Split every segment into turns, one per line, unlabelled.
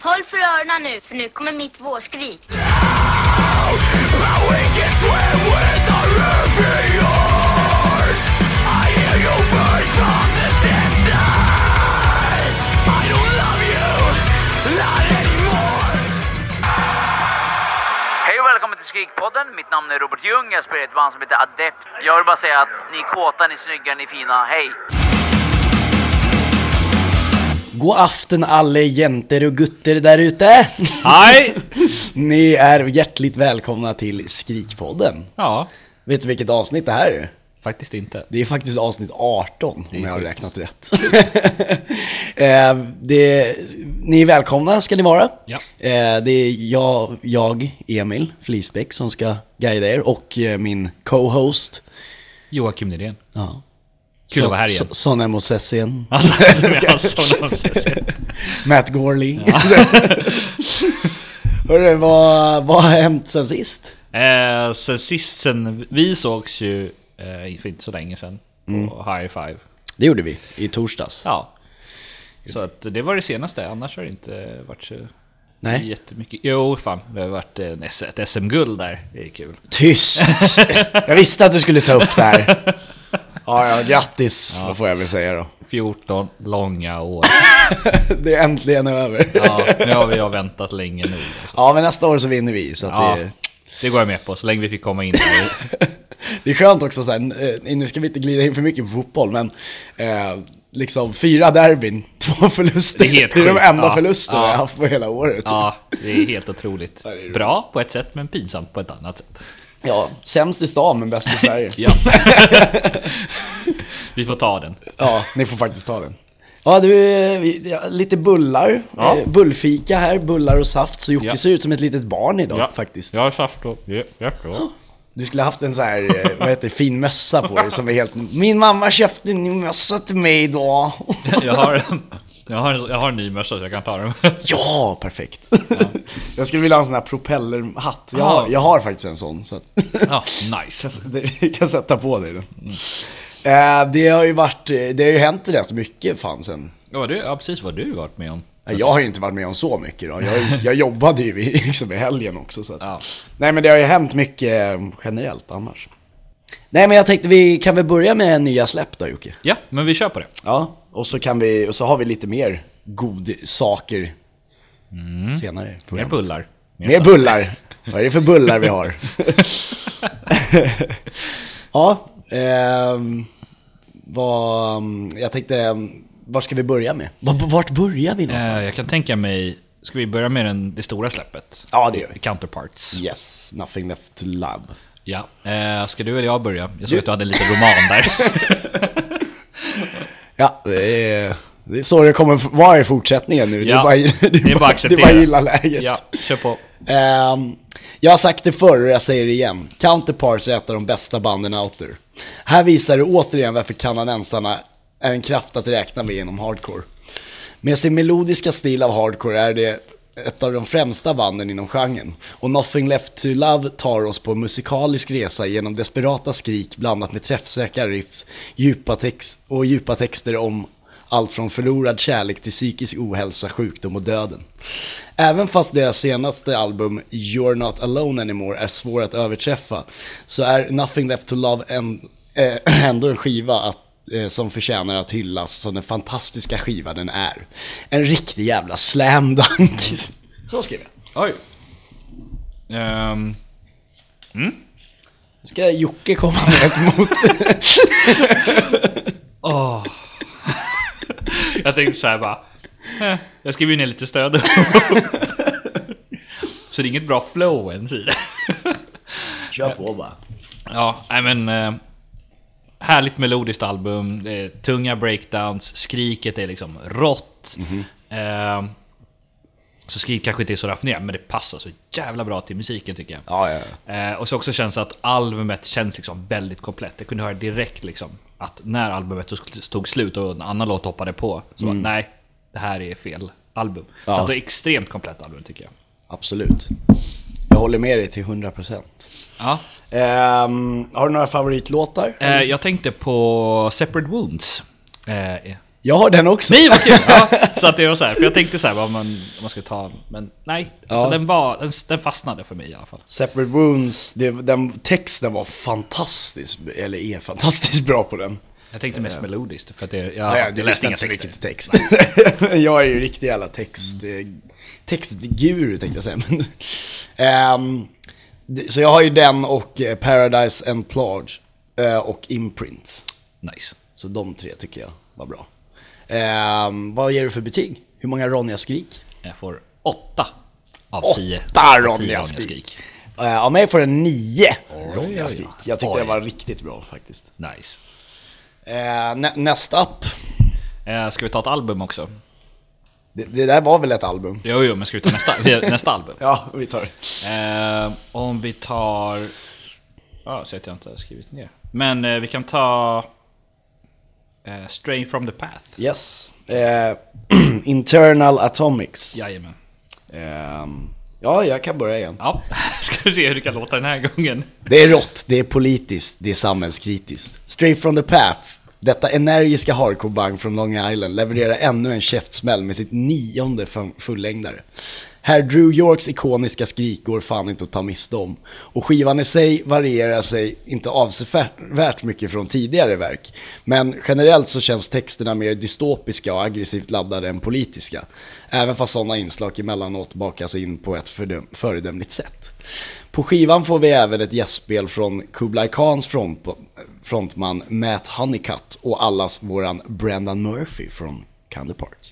Håll för öronen nu, för nu kommer mitt vårskrik.
Hej och välkommen till Skrikpodden. Mitt namn är Robert Ljung. Jag spelar i ett band som heter Adept. Jag vill bara säga att ni är kåta, ni är snygga, ni är fina. Hej!
God afton alla jenter och gutter där ute!
Hej!
Ni är hjärtligt välkomna till Skrikpodden.
Ja,
Vet du vilket avsnitt det här är?
faktiskt inte.
Det är faktiskt avsnitt 18
är
om jag har
sjukt.
räknat rätt. eh, det, ni är välkomna ska ni vara.
Ja.
Eh, det är jag, jag Emil Flisbäck, som ska guida er och eh, min co-host.
Joakim Nydén.
Ja.
Kul att vara här igen.
Sonja Mosesian.
Alltså, som jag sa när de ses.
Matt Gorley. Hörru, vad, vad har hänt sen sist?
eh, sen sist sen vi sågs ju eh, för inte så länge sen på High Five.
Det gjorde vi i torsdags.
Ja. Så att det var det senaste, annars har det inte varit så
Nej.
jättemycket. Jo, fan, det har varit en S- ett SM-guld där. Det är kul.
Tyst! Jag visste att du skulle ta upp det här. Ja, ja, grattis ja. får jag väl säga då.
14 långa år.
Det är äntligen över.
Ja, nu har vi jag väntat länge nu. Alltså.
Ja, men nästa år så vinner vi. Så att
Ja,
det,
det går jag med på, så länge vi fick komma in.
det är skönt också så här, eh, nu ska vi inte glida in för mycket på fotboll, men eh, liksom fyra derbyn, två förluster.
Det är helt
de
sjukt,
enda
ja.
förlusterna
Ja.
jag haft på hela året.
Ja, det är helt otroligt. Bra på ett sätt, men pinsamt på ett annat sätt.
Ja, sämst i stan men bäst i Sverige.
Ja. Vi får ta den.
Ja, ni får faktiskt ta den. Ja, du, eh, vi- ja, lite bullar.
Ja.
Eh, Bullfika här, bullar och saft. Så Jocke
Ja.
ser ut som ett litet barn idag faktiskt.
Jag har saft och... Ja, ja, ja.
Du skulle haft en så här, eh, vad heter det, fin mössa på dig som är helt... Min mamma köpte en ny mössa till mig idag.
Jag, har, jag, har, jag har en ny mössa så jag kan ta den.
Ja, perfekt. Jag skulle vilja ha en sån här propellerhatt. Jag,
Ah.
har- jag har faktiskt en sån. Så att...
Ja, nice.
Det- Vi kan sätta på dig den. Mm. Eh, Det har ju varit, eh, det har ju hänt rätt mycket fan sen.
Ja, vad du, ja, precis vad du varit med om.
Nej, Jag har ju inte varit med om så mycket då. Jag, jag jobbade ju i, liksom i helgen också. Så att.
Ja.
Nej men det har ju hänt mycket eh, generellt annars. Nej men jag tänkte vi kan väl börja med nya släpp då Jocke?
Ja, men vi kör på det.
Ja. Och så, kan vi, och så har vi lite mer god saker senare. i
Mer
programmet.
bullar. Mer
Mer
saft.
Mm. bullar. Vad är det för bullar vi har? ja, ehm, vad, mm, jag tänkte, var ska vi börja med? Var- Vart börjar vi någonstans?
Eh, jag kan tänka mig... Ska vi börja med den, det stora släppet?
Ja, det gör vi.
Counterparts.
Yes, nothing left to love.
Ja. Eh, ska du eller jag börja? Jag såg att du hade lite roman där.
Ja, det är, det är så det kommer f- vara i fortsättningen nu.
Ja,
det, är bara,
det är bara
det är
acceptera.
bara gilla läget.
Ja, kör på.
Ehm, jag har sagt det förr och jag säger det igen. Counterparts är ett av de bästa banden out there. Här visar det återigen varför kanadensarna är en kraft att räkna med inom hardcore. Med sin melodiska stil av hardcore är det ett av de främsta banden inom genren. Och Nothing Left To Love tar oss på en musikalisk resa genom desperata skrik blandat med träffsäkra riffs djupa text och djupa texter om allt från förlorad kärlek till psykisk ohälsa, sjukdom och döden. Även fast deras senaste album You're Not Alone Anymore är svår att överträffa så är Nothing Left To Love en, eh, ändå en skiva att, eh, som förtjänar att hyllas som den fantastiska skiva den är. En riktig jävla slam dunk. Mm. Så skrev jag.
Oj. Ehm,
Nu ska Jocke komma med ett mot.
Jag tänkte så här bara. Eh, jag skriver ner lite stöd. så det är inget bra flow ens i det.
Kör på bara.
ja, nej men. Eh, härligt melodiskt album. Det är tunga breakdowns. Skriket är liksom rått. Eh, så skrik kanske inte är så raffinerat, men det passar så jävla bra till musiken tycker jag.
Ja, ja.
Eh, och så också känns det att albumet känns liksom väldigt komplett. Jag kunde höra direkt liksom att när albumet stod slut och en annan låt hoppade på, så bara, nej, det här är fel album.
Mm. Ja.
Så att det är extremt komplett album tycker jag.
Absolut. Jag håller med dig till 100%.
Ja.
Ehm, har du några favoritlåtar?
Eh, jag tänkte på Separate Wounds. Eh,
Jag har den också.
Nej vad kul! Ja, så att det var så här, för jag tänkte så här vad man, vad man skulle ta, men nej. Så
Ja.
den, var, den, den fastnade för mig i alla fall.
Separate Wounds, det, den texten var fantastisk, eller är fantastiskt bra på den.
Jag tänkte mest melodiskt, för att det, jag,
Eh. Ja, ja,
jag
du
läste
lyssnar
inga
inte så
texter.
mycket till text. jag är ju riktig jävla text, eh, textguru tänkte jag säga. Men, ehm, det- så jag har ju den och eh, Paradise and Plage eh, och Imprint.
Nice.
Så de tre tycker jag var bra. Ehm, vad ger du för betyg? Hur många Ronja Skrik?
Jag får åtta av tio.
Åtta
av tio
Ronja Skrik. Eh, Av mig får den nio Ronja
oj.
Skrik. Jag tyckte
Oj.
det var riktigt bra faktiskt.
Nice.
Eh, nä- nästa app.
Eh, ska vi ta ett album också?
Det, det där var väl ett album?
Jo, jo, men ska vi ta nästa, nästa album?
Ja, vi tar det.
Eh, om vi tar... Ja, så att jag inte har skrivit ner. Men eh, vi kan ta... Eh, Strain from the Path.
Yes. Eh, internal Atomics.
Jajamän.
Ehm, ja, jag kan börja igen.
Ja, ska vi se hur det kan låta den här gången.
Det är rått, det är politiskt, det är samhällskritiskt. Straight from the path. Detta energiska hardcore-band från Long Island levererar ännu en käftsmäll med sitt nionde fun- fullängdare. Här Drew Yorks ikoniska skrik går fan inte att ta miste om. Och skivan i sig varierar sig inte avsevärt mycket från tidigare verk. Men generellt så känns texterna mer dystopiska och aggressivt laddade än politiska. Även fast sådana inslag emellanåt bakas in på ett fördöm- föredömligt sätt. På skivan får vi även ett gästspel från Kublai Khans front, frontman Matt Honeycutt och allas våran Brendan Murphy från Candy Park.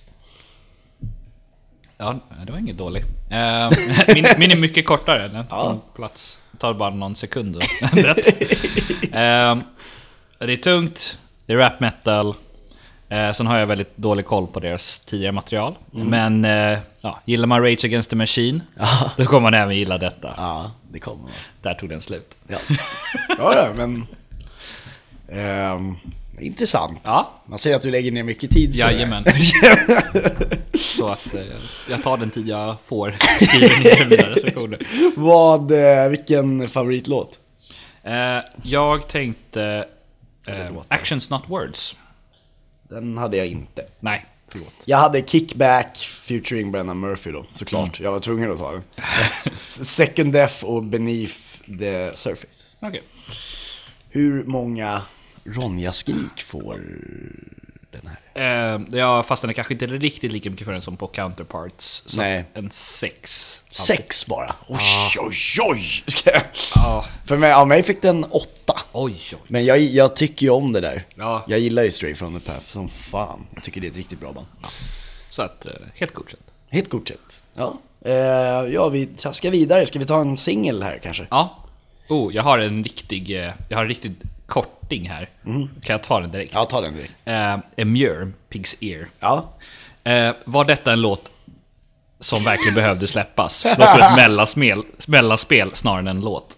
Ja, det var inget dåligt. Eh, min, min är mycket kortare. Den ja. plats. tar bara någon sekund att berätta. Eh, det är tungt, det är rap metal. Eh, sen har jag väldigt dålig koll på deras tidigare material. Men eh, ja, gillar man Rage Against the Machine, då kommer man även gilla detta.
Ja, det kommer man.
Där tog den slut.
Ja, ja, ja men... ehm, intressant.
Ja.
Man ser att du lägger ner mycket tid på
Jajamän.
det här.
Så att eh, jag tar den tid jag får. Skriver ner mina recensioner.
Vad, eh, vilken favoritlåt?
Eh, jag tänkte... Eh, actions not words.
Den hade jag inte.
Nej, förlåt.
Jag hade Kickback featuring Brennan Murphy då, såklart. Jag var tvungen att ta den. Second Death och Beneath the Surface.
Okej.
Hur många Ronja-skrik får den här?
Eh, jag fastnade kanske inte riktigt lika mycket för den som på Counterparts. Så
Nej.
att en sex.
Sex bara. Oj, oj, oj! Ska jag?
Ja.
För mig, av mig fick den åtta.
Oj, oj.
Men jag, jag tycker ju om det där.
Ja.
Jag gillar ju Stray from the Path som fan. Jag tycker det är ett riktigt bra band.
Så att, eh, helt godkänt.
Helt godkänt. Ja. Eh, ja, vi traskar vidare. Ska vi ta en singel här kanske?
Ja. Oh, jag har en riktig, eh, jag har en riktig korting här. Kan jag ta den direkt?
Mm. Ja, ta den direkt.
Eh, A Mure, Pig's Ear.
Ja.
Eh, var detta en låt som verkligen behövde släppas? Låt för ett mellanspel, mellanspel snarare än en låt.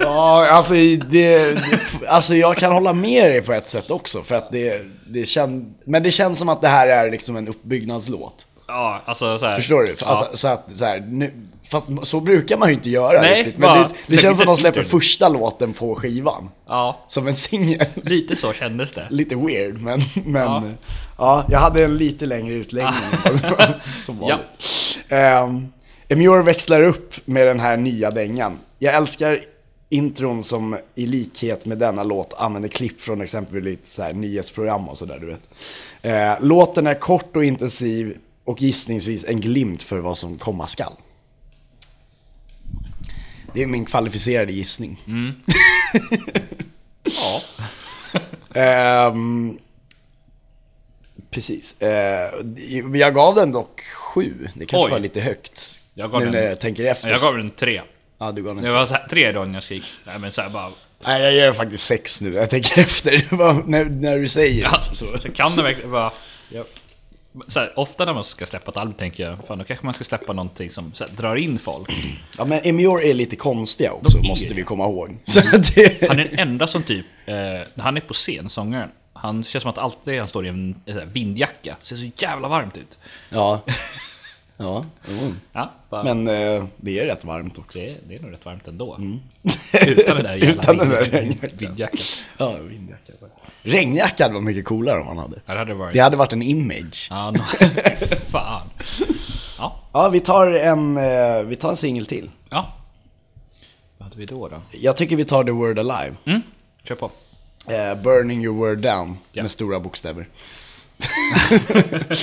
Ja, alltså, det, det, alltså jag kan hålla med dig på ett sätt också. För att det, det kän, men det känns som att det här är liksom en uppbyggnadslåt.
Ja, alltså så här,
Förstår du?
Ja.
Alltså, så att, så här, nu, fast så brukar man ju inte göra
Nej,
riktigt. Men
bara-
det, det känns som att de släpper
Internet.
första låten på skivan.
ja,
Som en singel.
lite så kändes det.
Lite weird, men, men
Ja.
ja. jag hade en lite längre utläggning än vad- som vanligt. Ehm, Emure växlar upp med den här nya dängan. Jag älskar intron som i likhet med denna låt använder klipp från exempelvis så här nyhetsprogram och sådär, du vet. Eh, låten är kort och intensiv och gissningsvis en glimt för vad som komma skall. Det är min kvalificerade gissning.
Ja.
Ehm, precis. Eh, jag gav den dock sju. Det kanske
Oj.
var lite högt.
Jag gav
nu
den-
när jag tänker efter.
Jag gav den tre.
Ja, du gav den
Det
tre.
var så här, tre dagar när jag skrek. Nej men såhär bara...
Nej, jag ger den faktiskt sex nu. Jag tänker efter. Det var när, när du säger
Ja,
det. Alltså, Så.
så kan det verkligen vara... Ja. Så här, ofta när man ska släppa ett album tänker jag, fan då kanske man ska släppa någonting som så här, drar in folk.
Ja, men Emior är lite konstiga också,
De är
måste
det.
vi komma ihåg. Så att det...
Han är den enda som typ, eh, när han är på scen, sångaren, han känns som att alltid han står i en eh, så här, vindjacka, ser så jävla varmt ut.
Ja. Ja, jo.
Ja, bara,
Men eh, det är rätt varmt också.
det, är- det är nog rätt varmt ändå. Utan den där jävla
Mm. Utan den där
vindjackan.
regnjackan.
vindjackan.
Ja, vindjacka. Regnjacka hade varit mycket coolare om han hade.
Ja, det hade varit...
Det hade varit en image.
Ja, no. Fan. Ja,
Ja, vi tar en, eh, vi tar en singel till.
ja. Vad hade vi då då?
Jag tycker vi tar The Word Alive.
Mm, kör på.
Eh, burning your word down
Ja.
med stora bokstäver.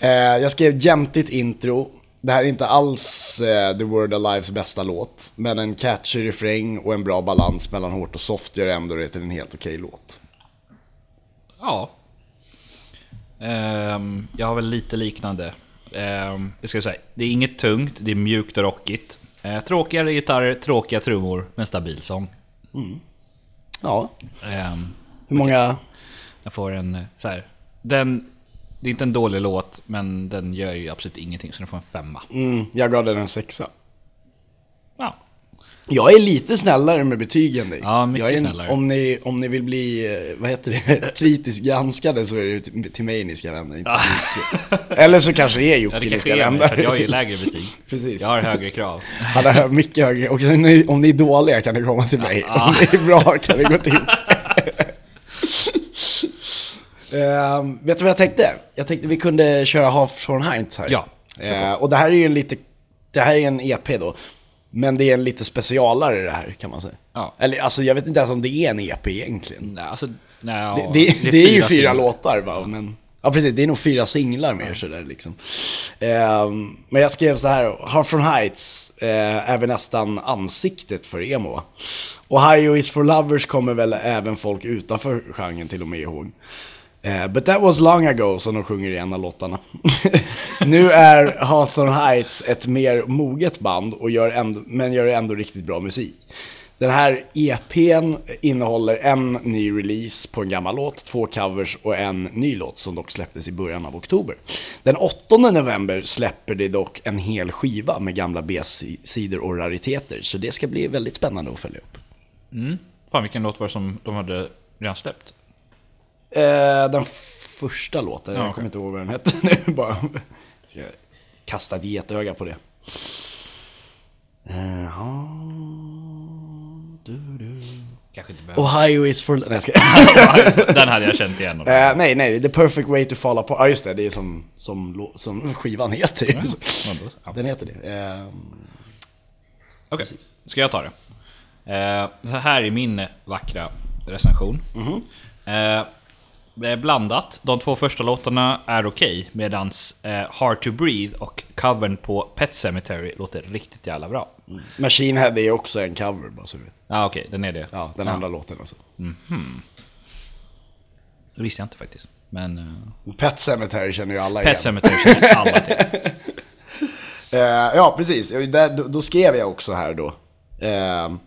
eh, jag skrev jämtigt intro. Det här är inte alls eh, The Word Alives bästa låt, men en catchy refräng och en bra balans mellan hårt och soft gör ändå det till en helt okej låt.
Ja. Ehm, jag har väl lite liknande. Ehm, det ska jag säga. Det är inget tungt, det är mjukt och rockigt. Uh, tråkigare gitarrer, tråkiga trummor, men stabil sång.
Ja.
Ehm,
Hur många?
jag får en eh, så här. Den, det är inte en dålig låt, men den gör ju absolut ingenting, så den får en femma.
Mm, jag gav den en sexa.
Ja.
Jag är lite snällare med betyg än dig.
Ja, mycket
jag är en,
snällare.
Om ni, om ni vill bli, eh, vad heter det, kritiskt granskade så är det till, till mig ni ska vända inte till Jocke. Eller så kanske det är Jocke
Ja, det
ni
kanske
ska
är
vända
mig, för att jag är ju
till.
lägre betyg.
Precis.
Jag har högre krav.
Han har mycket högre, och sen ni- om ni är dåliga kan ni komma till mig. Om ni är bra kan ni gå till Jocke. Ehm, vet du vad jag tänkte? Jag tänkte vi kunde köra Half från Heinz här.
Ja,
Ehm, och det här är ju en lite, det här är en EP då. Men det är en lite specialare det här kan man säga.
Ja.
Eller alltså jag vet inte ens om det är en EP egentligen.
Nej, alltså, nej, ja,
Det, det, det, är ju fyra
singlar.
låtar va, men... Ja precis, det är nog fyra singlar mer sådär liksom. Ehm, men jag skrev så här, Half from Heights eh, är väl nästan ansiktet för emo va? Och Ohio is for lovers kommer väl även folk utanför genren till och med ihåg. Eh, but that was long ago, som de sjunger i en av låtarna. nu är Hawthorne Heights ett mer moget band, och gör ändå, men gör ändå riktigt bra musik. Den här EPn innehåller en ny release på en gammal låt, två covers och en ny låt som dock släpptes i början av oktober. Den 8 november släpper det dock en hel skiva med gamla B-sidor och rariteter, så det ska bli väldigt spännande att följa upp.
Fan, vilken låt var det som de hade redan släppt?
Eh, den första låten,
Ja,
jag
okej.
kommer inte ihåg vad den hette nu bara. Ska jag kasta ett getöga på det. Eh, ja. Du, du.
Kanske inte behöver.
Ohio is for... Nej, jag ska...
Den hade jag känt igen.
Eh, nej, nej, The Perfect Way to Fall Apart. Ja, just det, det är som, som, lå- som skivan heter.
Ja, då-
Den heter det. Ehm,
Okej, ska jag ta det? Eh, så här är min vackra recension.
Mhm.
Eh, det är blandat. De två första låtarna är okej, medans eh, Hard to Breathe och covern på Pet Cemetery låter riktigt jävla bra.
Mm. Machine Head är också en cover, bara så du vet.
Ja, okej, den är det.
Ja, den andra låten alltså.
Det visste jag inte faktiskt. Men eh,
Pet Sematary känner ju alla
Pet
igen.
Cemetery känner alla till.
Eh, ja, precis. Eh, Där, då, då skrev jag också här då. ehm,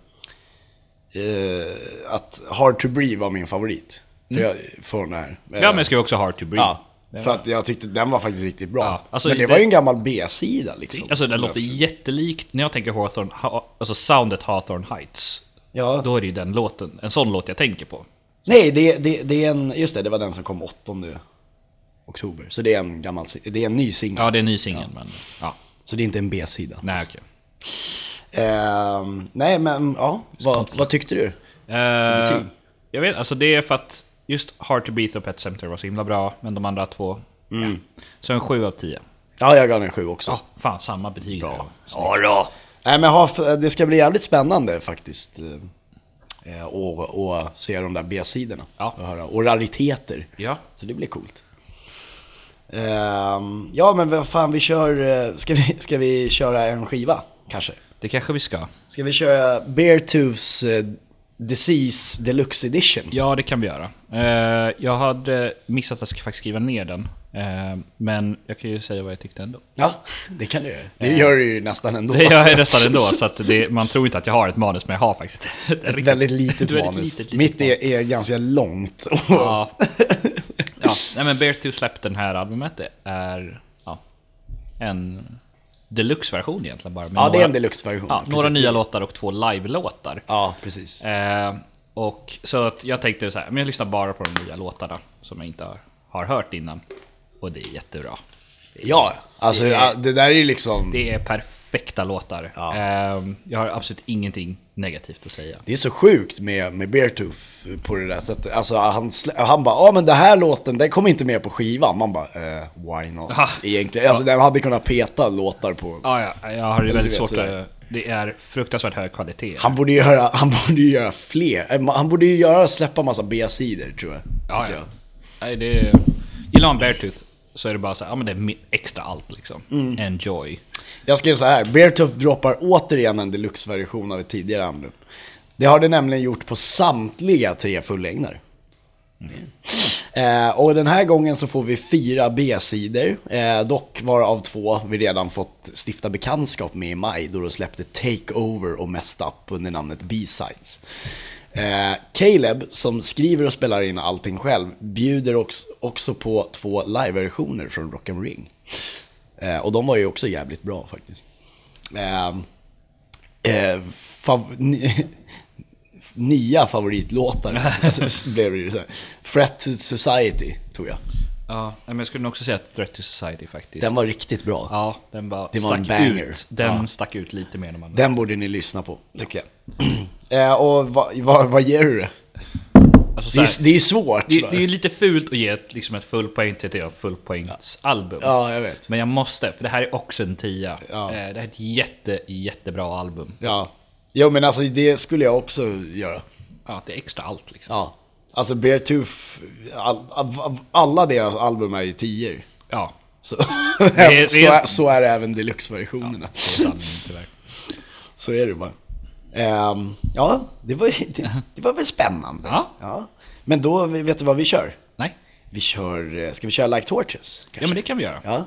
eh, att Hard to Breathe var min favorit. För jag, från det här. Eh,
Mm. Ja, men jag skrev också Hard to Breathe.
ja, för att jag tyckte den var faktiskt riktigt bra.
Ja, alltså
men det,
det-
var ju en gammal B-sida liksom.
Alltså den låter jättelikt, när jag tänker Hawthorne, ha, alltså soundet Hawthorne Heights.
Ja.
Då är det ju den låten, en sån låt jag tänker på.
Nej, det, det, det är en, just det, det var den som kom 8 oktober. Så det är en gammal, si- det är en ny singel.
Ja, det är en ny singel, men ja.
Så det är inte en B-sida.
Nej, okej.
Ehm, nej, men ja, vad, vad tyckte du?
Eh,
betyg?
jag vet, alltså det är för att just Hard to Beat och Pet Cemetery var så himla bra, men de andra två... Ja. Så en 7 av 10.
Ja, jag gav den en sju också.
Fan, samma betyg.
Bra.
Ja, då.
Nej, men ha- det ska bli jävligt spännande faktiskt. eh, Och, och se de där B-sidorna.
Ja.
Och, höra. och rariteter.
Ja.
Så det blir coolt. Ehm, ja, men vad fan, vi kör... eh, Ska vi, ska vi köra en skiva? Kanske.
Det kanske vi ska.
Ska vi köra Beartooths eh, Disease Deluxe Edition?
Ja, det kan vi göra. Eh, jag hade missat att jag ska faktiskt skriva ner den. Eh, men jag kan ju säga vad jag tyckte ändå.
Ja, det kan du göra. Det gör du ju nästan ändå.
Eh, Det gör
alltså.
jag nästan ändå, så att det, man tror inte att jag har ett manus, men jag har faktiskt ett
Ett
riktigt-
väldigt litet
ett väldigt
manus.
litet, litet
Mitt är, är ganska långt.
Ja. ja. Nej men Bear 2 släppte den här albumet. Det är ja, en deluxe-version egentligen bara. med
Ja, det är
några-
en deluxe-version.
Ja,
Precis.
några nya låtar och två live-låtar.
Ja, precis.
Eh, och så att jag tänkte så här, men jag lyssnar bara på de nya låtarna som jag inte har, har hört innan. Och det är jättebra.
Ja, alltså
Det
det,
är-
det där är ju liksom...
Det är perfekta låtar.
Ja.
Ehm, Jag har absolut ingenting negativt att säga.
Det är så sjukt med, med Beartooth på det där sättet. Alltså han, slä- han bara, ja men den här låten, den kom inte med på skivan. Man bara, eh, why not?
Ja.
Egentligen, alltså den hade kunnat peta låtar på.
Ja, ja, jag har ju väldigt
du vet,
svårt
sådär.
att... Det är fruktansvärt hög kvalitet.
Han borde ju göra, han borde ju göra fler, eh, ma- han borde ju göra, släppa massa B-sidor tror jag.
ja,
tycker
ja. Nej, det är, gillar man Beartooth så är det bara så här, ja men det är mi- extra allt liksom.
Mm.
Enjoy.
Jag skrev så här, Beartooth droppar återigen en deluxe-version av ett tidigare album. Det har det nämligen gjort på samtliga tre fullängder. Eh, och den här gången så får vi fyra B-sidor, eh, dock varav två vi redan fått stifta bekantskap med i maj då de släppte Take Over och Messed Up under namnet B-sides. Eh, Caleb, som skriver och spelar in allting själv, bjuder också, också på två live-versioner från Rock and Ring. Eh, och de var ju också jävligt bra faktiskt. Eh, eh, fav- ny- nya favoritlåtar alltså, blev det ju. så här. Threat to Society tog jag.
Ja, men jag skulle nog också säga att Threat to Society faktiskt.
Den var riktigt bra.
Ja, den bara
Det var
stack
en banger.
ut. Den
Ja.
stack ut lite mer än man...
Den borde ni lyssna på, tycker jag. eh, och vad, vad, vad ger du det?
Alltså,
Det
så här,
är, det är svårt.
det, det är ju lite fult att ge ett, liksom ett full poäng till ett helt fullpoängsalbum.
Ja, jag vet.
Men jag måste, för det här är också en tia.
Ja.
Eh, Det här är ett jätte, jättebra album.
Ja. Jo men alltså det skulle jag också göra.
Ja, det är extra allt liksom.
Ja. Alltså Beartooth, all, all, alla deras album är ju tior.
Ja,
Så,
är-
så,
det är-
är, så är det även deluxe-versionerna.
det är sanningen tyvärr.
Så är det bara. Ehm, ja, det var, ju- det, det var väl spännande.
Ja.
Men då, vet du vad vi kör?
Nej,
Vi kör, eh, ska vi köra Like Torches?
ja men det kan vi göra.
Ja.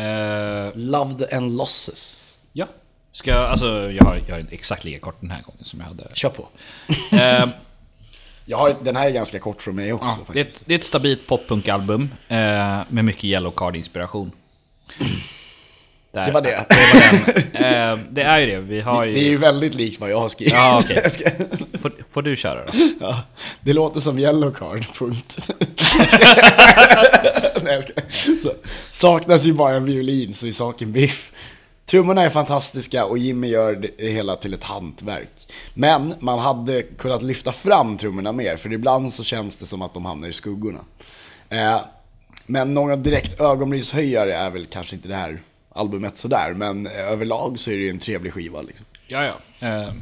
Eh,
Loved and Losses.
ja. Ska, alltså, jag har, jag har inte exakt lika kort den här gången som jag hade.
Kör på.
Eh,
Jag har, den här är ganska kort från mig också
ja, det, är
faktiskt.
ett, det är ett stabilt poppunkalbum eh, med mycket Yellowcard-inspiration. Där-
Det var det.
Det, var den. Eh, det är ju det. Vi har ju...
Det är ju väldigt likt vad jag har skrivit.
Ja, okej.
Jag ska-
får, får du köra då?
ja, det låter som Yellowcard, punkt. Nej, jag ska- så, saknas ju bara en violin så är saken biff. Trummorna är fantastiska och Jimmy gör det hela till ett hantverk. Men man hade kunnat lyfta fram trummorna mer, för ibland så känns det som att de hamnar i skuggorna. Eh, men någon direkt ögonbrynshöjare är väl kanske inte det här albumet sådär, men överlag så är det ju en trevlig skiva. Liksom.
Ja, ja. Eh,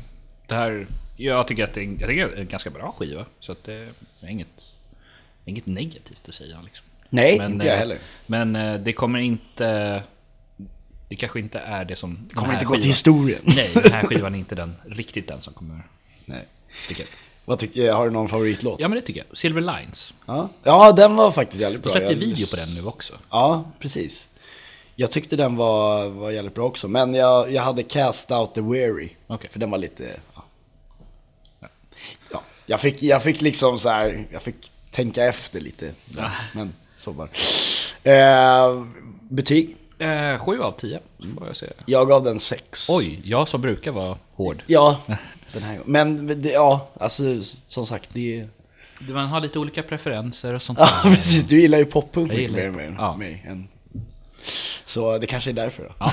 det här, jag tycker att det är en, jag tycker att det är en ganska bra skiva. Så att eh, det är inget, inget negativt att säga. Liksom.
Nej, inte jag
eh,
heller.
Men eh, det kommer inte... Det kanske inte är det som... Det
kommer inte gå till historien.
Nej, den här skivan är inte den, riktigt den som kommer
Nej.
sticka ut.
Vad tycker, har du någon favoritlåt?
Ja, men det tycker jag. Silver Lines.
Ja, ja den var faktiskt jävligt
De
bra.
släppte
Jag-
video på den nu också.
Ja, precis. Jag tyckte den var, var jävligt bra också, men jag, jag hade Cast Out The Weary.
Okej.
För den var lite... Ja. Ja, jag, fick, jag fick liksom så här, jag fick tänka efter lite. Men så bara. Eh, betyg?
Eh, 7 av 10 får jag säga.
Jag gav den 6.
Oj, jag som brukar vara hård.
Ja, den här gången. Men det, ja, alltså som sagt, det är...
Man har lite olika preferenser och sånt
Ja,
där.
precis. Du gillar ju poppunk
Jag
mycket
gillar
mer
ju
än mig.
pop. Ja.
mig än... Så det kanske är därför då.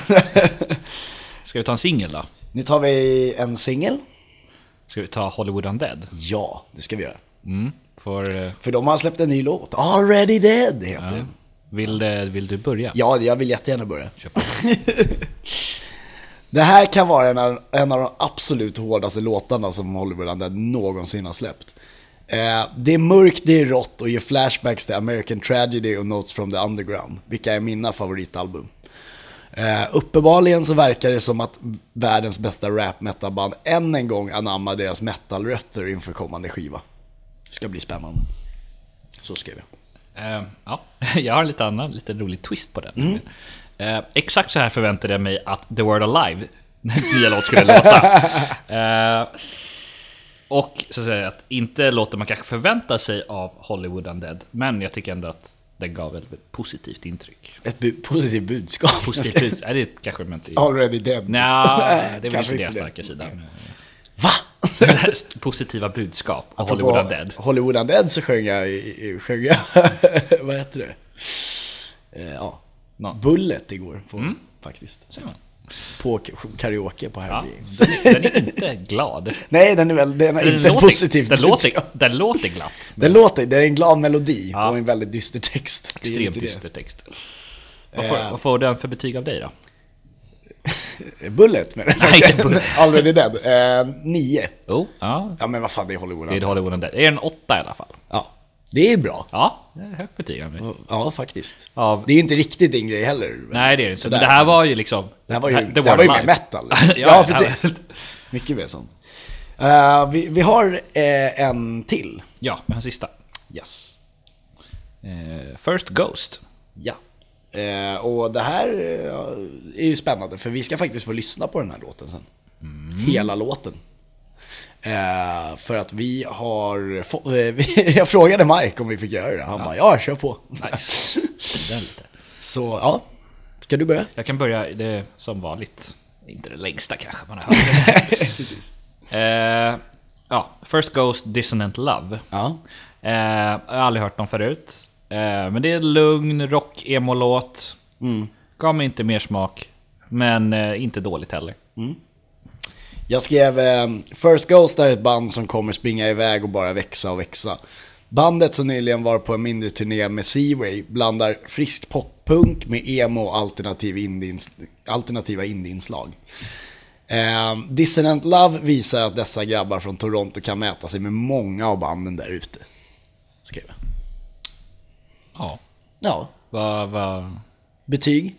Ska vi ta en singel då?
Nu tar vi en singel.
Ska vi ta Hollywood Undead?
Ja, det ska vi göra.
Mm. För, eh,
För de har släppt en ny låt. Already Dead heter den.
vill, eh, vill du börja?
Ja, jag vill jättegärna börja.
Kör
det här kan vara en av, en av de absolut hårdaste låtarna som Hollywood Undead någonsin har släppt. Eh, det är mörkt, det är rått och ger flashbacks till American Tragedy och Notes from the Underground, vilka är mina favoritalbum. Eh, uppenbarligen så verkar det som att världens bästa rap metalband än en gång anammar deras metalrötter inför kommande skiva. Det ska bli spännande. Så skrev jag.
Eh, ja, jag har en lite annan, lite rolig twist på den.
Mm.
Eh, exakt så här förväntade jag mig att The Word Alive, nya låt, skulle låta. Eh, och så säger jag att inte låter man kanske förvänta sig av Hollywood Undead, men jag tycker ändå att den gav ett positivt intryck.
Ett bu- positivt budskap.
Positivt ut, är det kanske man inte...
Already dead.
Nja, det är väl
Kanske
inte deras
inte det.
starka sida.
Va?
Positiva budskap av
Apropå
Hollywood Undead.
Hollywood Undead så sjöng jag, i- i- sjöng jag vad heter det? Eh, ja,
Nå.
Bullet igår, på,
Mm.
faktiskt.
Ser man.
På k- karaoke på
Ja,
Harry Games.
den, är, den är inte glad.
Nej, den är väl, den är
Den
inte ett positivt
den,
budskap.
låter, den låter glatt.
Den låter, det är en glad melodi
Ja.
och en väldigt dyster text. Det Eh. är
Extremt
inte det.
dyster text. Vad får,
Eh.
vad får den för betyg av dig då?
Bullet med den.
Nej, inte Bullet.
Already Dead. Eh, nio.
Jo, ja.
Ja men vad fan, det är Hollywood.
Det är Hollywooden där. Det är en åtta i alla fall.
Ja. Det är bra.
Ja, det är högt betyg av mig.
Ja, faktiskt.
Av-
Det är ju inte riktigt din grej heller.
Nej, det är det inte.
Sådär.
Men det här var ju liksom...
Det här var ju,
The
det här
World
var ju mer
Live.
metal.
ja,
ja,
det här var-
precis. Mycket mer sånt. Eh, vi, vi har eh, en till.
Ja, men den sista.
Yes.
Eh, First Ghost.
Ja. Eh, och det här eh, är ju spännande för vi ska faktiskt få lyssna på den här låten sen. Hela låten. Eh, för att vi har... få- eh, vi- Jag frågade Mike om vi fick göra det. Han bara ja, kör på.
Nice. Den lite.
Så ja, ska du börja?
Jag kan börja det som vanligt. Inte det längsta kanske man har hört.
Precis.
eh, ja, First Ghost Dissonant Love.
Ja.
Eh, jag har aldrig hört dem förut. Eh, men det är en lugn rock-emo-låt.
Mm.
Gav mig inte mer smak. Men eh, inte dåligt heller.
Jag skrev eh, First Ghost är ett band som kommer springa iväg och bara växa och växa. Bandet som nyligen var på en mindre turné med Seaway blandar frisk poppunk med emo och alternativ indiens- alternativa indieinslag. Eh, Dissonant Love visar att dessa grabbar från Toronto kan mäta sig med många av banden där ute. Skrev jag.
Ja.
Ja,
Vad... vad-
betyg?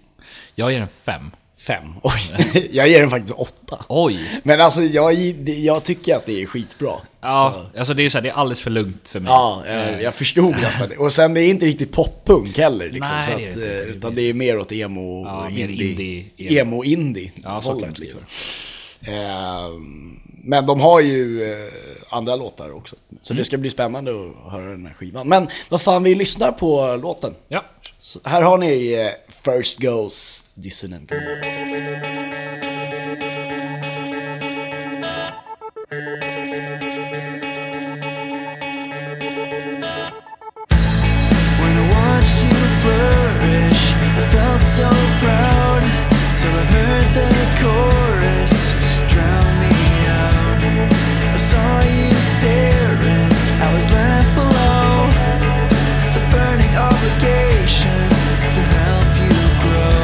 Jag ger den fem.
Fem. Oj, jag ger den faktiskt åtta.
Oj!
Men alltså jag, jag tycker att det är skitbra.
Ja,
Så-
alltså det är så här, det är alldeles för lugnt för mig.
Ja, eh, jag, jag förstod nästan det. Och sen det är inte riktigt poppunk heller liksom.
Nej,
så
det är
att,
det inte.
eh, utan det är mer åt emo
Ja,
och
mer
indie.
indie-
Emo indie
Ja, så kan man
hållet
skriva.
liksom. Ehm, men de har ju eh, andra låtar också. Så
Mm.
det ska bli spännande att höra den här skivan. Men vad fan, vi lyssnar på låten.
Ja.
Så här har ni eh, First Goes Dissonant. Love.
When I watched you flourish, I felt so proud till I heard the chorus drown me out. I saw you staring, I was left below. The burning obligation to help you grow.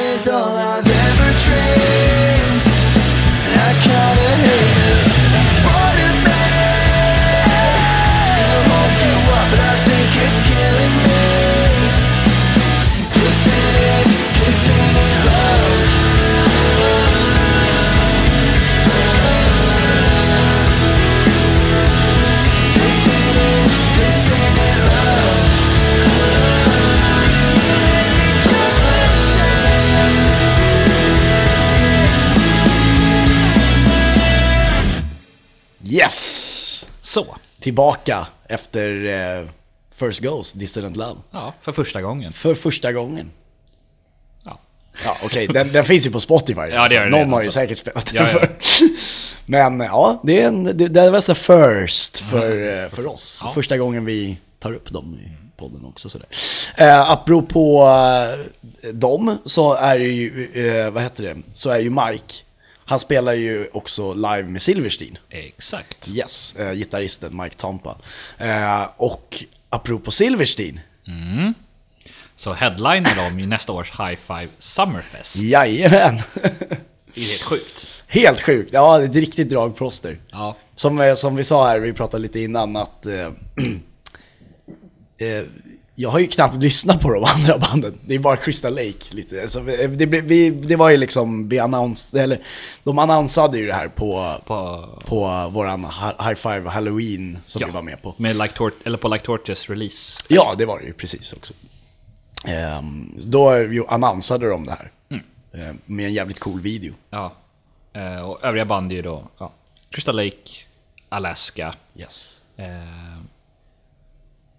is all I've ever dreamed. And I kinda hate it. Part of me still holds you up, but I think it's killing me. This ain't it, this ain't it, love. This ain't it, this ain't it, love.
Yes!
Så.
Tillbaka efter eh, First Ghost, Dissident Love.
Ja, för första gången.
För första gången.
Ja.
Ja, okej, den, den finns ju på Spotify.
Ja, det gör den
Någon
redan,
har ju
så.
säkert spelat den
Ja, ja.
för. Men ja, det, är en, det, det var så first för, eh, för oss.
Mm. Ja.
Första gången vi tar upp dem i podden också. Sådär. Eh, apropå eh, dem så är det ju, eh, vad heter det, så är ju Mike, han spelar ju också live med Silverstein.
Exakt.
Yes, eh, gitarristen Mike Tampa. Eh, och apropå Silverstein,
Så headlinar de i nästa års High Five Summerfest.
jajamän!
Det är helt sjukt.
Helt sjukt, ja det är ett riktigt dragproster.
Ja.
Som, eh, som vi sa här, vi pratade lite innan att eh, eh, jag har ju knappt lyssnat på de andra banden. Det är bara Crystal Lake lite. Alltså, eh, det, blev- vi, det var ju liksom, vi annons, eller de annonsade ju det här på, på,
På,
våran hi- High Five Halloween som vi var med på.
Med like Tor- eller på Like Torches release.
Ja, det var det ju precis också. Ehm, då ju annonsade de det här.
Mm.
Ehm, med en jävligt cool video.
Ja. Eh, och övriga band är ju då ja. Crystal Lake, Alaska,
Yes.
eh,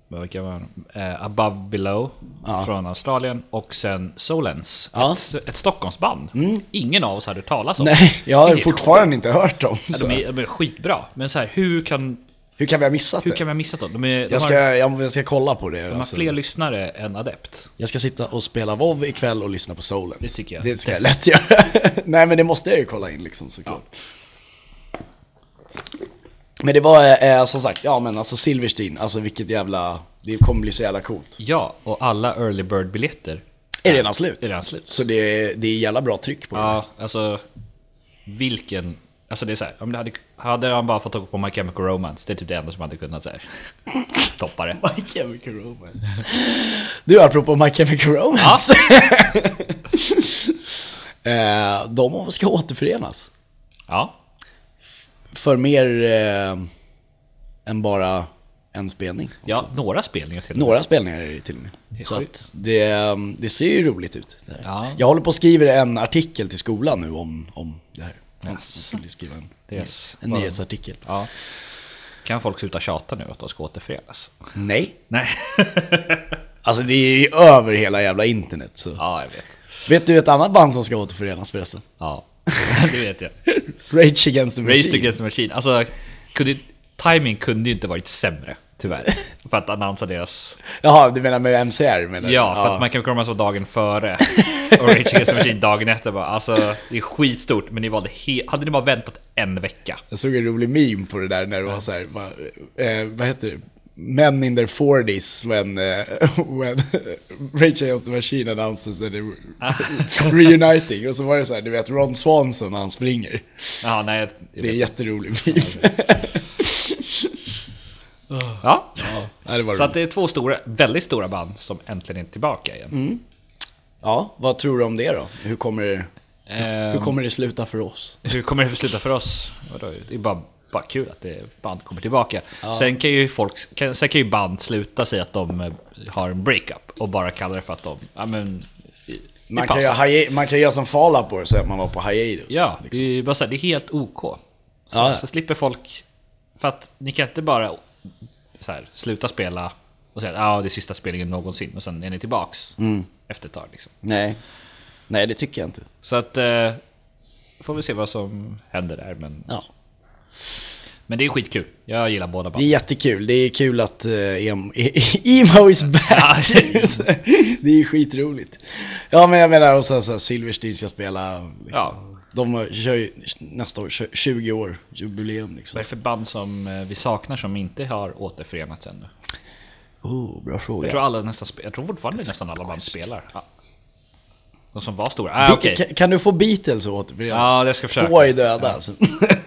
vad vilka var det? eh, Above Below
Ja.
från Australien och sen Solens.
Ja. Mm.
Ett, ett Stockholmsband. Ingen av oss hade talas om.
Nej, jag har
Det är
fortfarande inte hört dem.
sjukt.
Så.
De är, de är skitbra, men så här, hur kan,
Hur kan vi ha missat
hur
det?
kan vi ha missat dem? De, är, de
Jag ska,
har,
jag, jag ska kolla på det.
de har
alltså.
fler lyssnare än Adept.
Jag ska sitta och spela WoW ikväll och lyssna på Solens.
Det tycker jag.
Det ska jag lätt göra. Nej men det måste jag ju kolla in liksom såklart. Men det var eh, som sagt, ja men alltså Silverstein, alltså vilket jävla, det kommer bli så jävla coolt.
Ja, och alla early bird-biljetter
Är det redan slut?
är redan slut.
Så det, det är jävla bra tryck på det.
Ja, alltså vilken... Alltså det är så här, om det hade, hade han bara fått tag på My Chemical Romance, det är typ det enda som hade kunnat så här, toppa det.
My Chemical Romance. Du, apropå My Chemical Romance. eh, de ska återförenas.
Ja,
För mer eh, än bara en spelning.
ja några spelningar till.
Några spelningar är det till och
är
med. Så
sjukt.
att det, eh, det ser ju roligt ut. Det här.
Ja.
Jag håller på och skriver en artikel till skolan nu om, om det här. Om- om Jag
Jaså.
skulle skriva en,
Yes.
en nyhetsartikel.
Ja. Kan folk sluta tjata nu att de ska återförenas?
Nej,
Nej.
alltså det är ju över hela jävla internet. Så.
Ja, jag vet.
Vet du ett annat band som ska återförenas förresten?
Ja, det vet jag.
Rage Against the Machine.
Race Against the Machine. Alltså, kunde, timing kunde ju inte varit sämre, tyvärr. För att annonsa deras...
Jaha, du menar med MCR? Menar du?
Ja, för att man kan komma så dagen före och Rage Against the Machine dagen efter bara. Alltså, det är skitstort, men ni valde he- Hade ni bara väntat en vecka?
Jag såg en rolig meme på det där när det var så här, bara, eh, vad heter det? Men in their 40s when, eh, when Rage Against the Machine announces that they're
Ah.
reuniting. Och så var det så här, du vet Ron Swanson när han springer.
Ja, nej.
Det är en jätterolig meme.
Ja.
Ja, det var
Så att
roligt.
det är två stora, väldigt stora band som äntligen är tillbaka igen.
Mm. ja, vad tror du om det då? Hur kommer,
Ehm,
hur kommer det sluta för oss?
Hur kommer det sluta för oss? Vadå? Det är bara, bara kul att det band kommer tillbaka. Sen, kan ju folk, kan, sen kan ju band sluta sig att de eh, har en breakup och bara kalla det för att de... Ja, men, vi- vi
Man kan, ju,
pausar.
ha- man kan göra som Fala på det och säga att man var på hiatus.
Ja,
liksom.
det är, bara så här, det är helt OK. Så,
Ja, ja.
så slipper folk... För att ni kan inte bara så här, sluta spela och säga att ah, det är sista spelningen någonsin och sen är ni tillbaks
Mm.
efter ett tag. Liksom.
Nej. Nej, det tycker jag inte.
Så att... Eh, får vi se vad som händer där. Men,
Ja.
men det är skitkul. Jag gillar båda
Det
banden.
är jättekul, det är kul att eh, em- Emo is back! det är skitroligt. Ja men jag menar, och sen så här, Silverstein ska spela, liksom.
Ja.
de har- kör ju nästa år, tjo- 20 år, jubileum liksom.
Vad är det för band som eh, vi saknar som inte har återförenats ännu?
Oh, bra
Jag
fråga.
tror, alla nästan, spe- jag tror fortfarande nästan alla band spelar. Ja. De som var stora? Ah, okej.
Ka- Kan du få Beatles återförenat?
Ja, det ska jag försöka.
Två är döda alltså.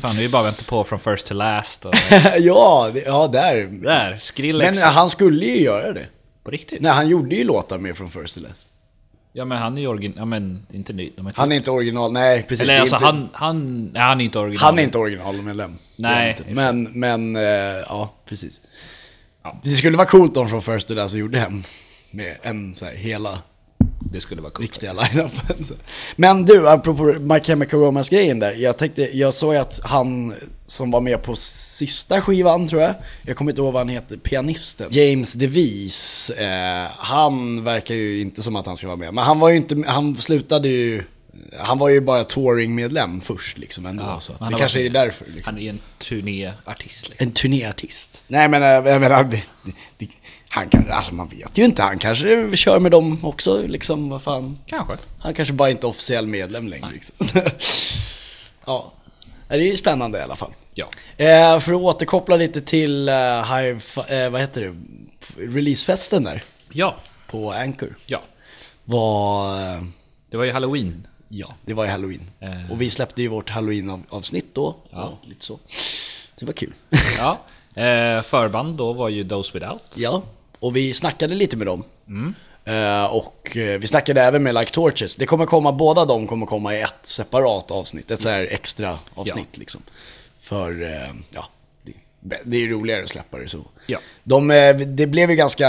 Fan, vi bara väntar på från first to last och...
ja, det, ja, där.
Där, Skrillex.
Men han skulle ju göra det.
På riktigt?
Nej, han gjorde ju låtar med från First to Last. Ja,
Ja, men han är ju origin... Ja, men inte ny. De är inte...
Han är inte original, nej precis. Det
Eller
är
alltså,
inte,
han... Han, nej, han är inte original.
han är inte originalmedlem. Det är
Nej,
han
i och
Inte.
för
Men, men, eh, ja precis.
Ja.
Det skulle vara coolt om från First to Last gjorde en. Med en så här, hela,
Det skulle vara coolt.
riktiga line-upen. Så. Men du, apropå My Chemical Romance-grejen där. Jag, tänkte, jag såg att han som var med på sista skivan tror jag, jag kommer inte ihåg vad han heter, pianisten. James DeVries, eh, han verkar ju inte som att han ska vara med. Men han var ju inte, han slutade ju, han var ju bara touringmedlem först liksom ändå.
Ja,
så att
han
det
har
kanske är
varit-
därför. Liksom.
Han är en turnéartist liksom.
En turnéartist. Nej men eh, jag jag menar, det, det, det, han kan, alltså man vet ju inte, han kanske kör med dem också liksom, vad fan.
Kanske.
Han kanske bara inte är officiell medlem längre. Liksom. ja, det är ju spännande i alla fall.
Ja.
Eh, för att återkoppla lite till eh, Hive, eh, vad heter det, releasefesten där
Ja.
på Anchor.
Ja.
Var, eh,
Det var ju halloween.
ja, det var ju halloween.
Eh.
Och vi släppte ju vårt halloween-avsnitt då. Ja. Lite så. Så det var kul.
Ja. Eh, förband då var ju Those Without.
Ja, och vi snackade lite med dem. Eh, och eh, vi snackade även med Like Torches. Det kommer komma, båda de kommer komma i ett separat avsnitt, ett så här extra avsnitt liksom. För, eh, ja, det, det är ju roligare att släppa det så.
Ja.
De, eh, det blev ju ganska,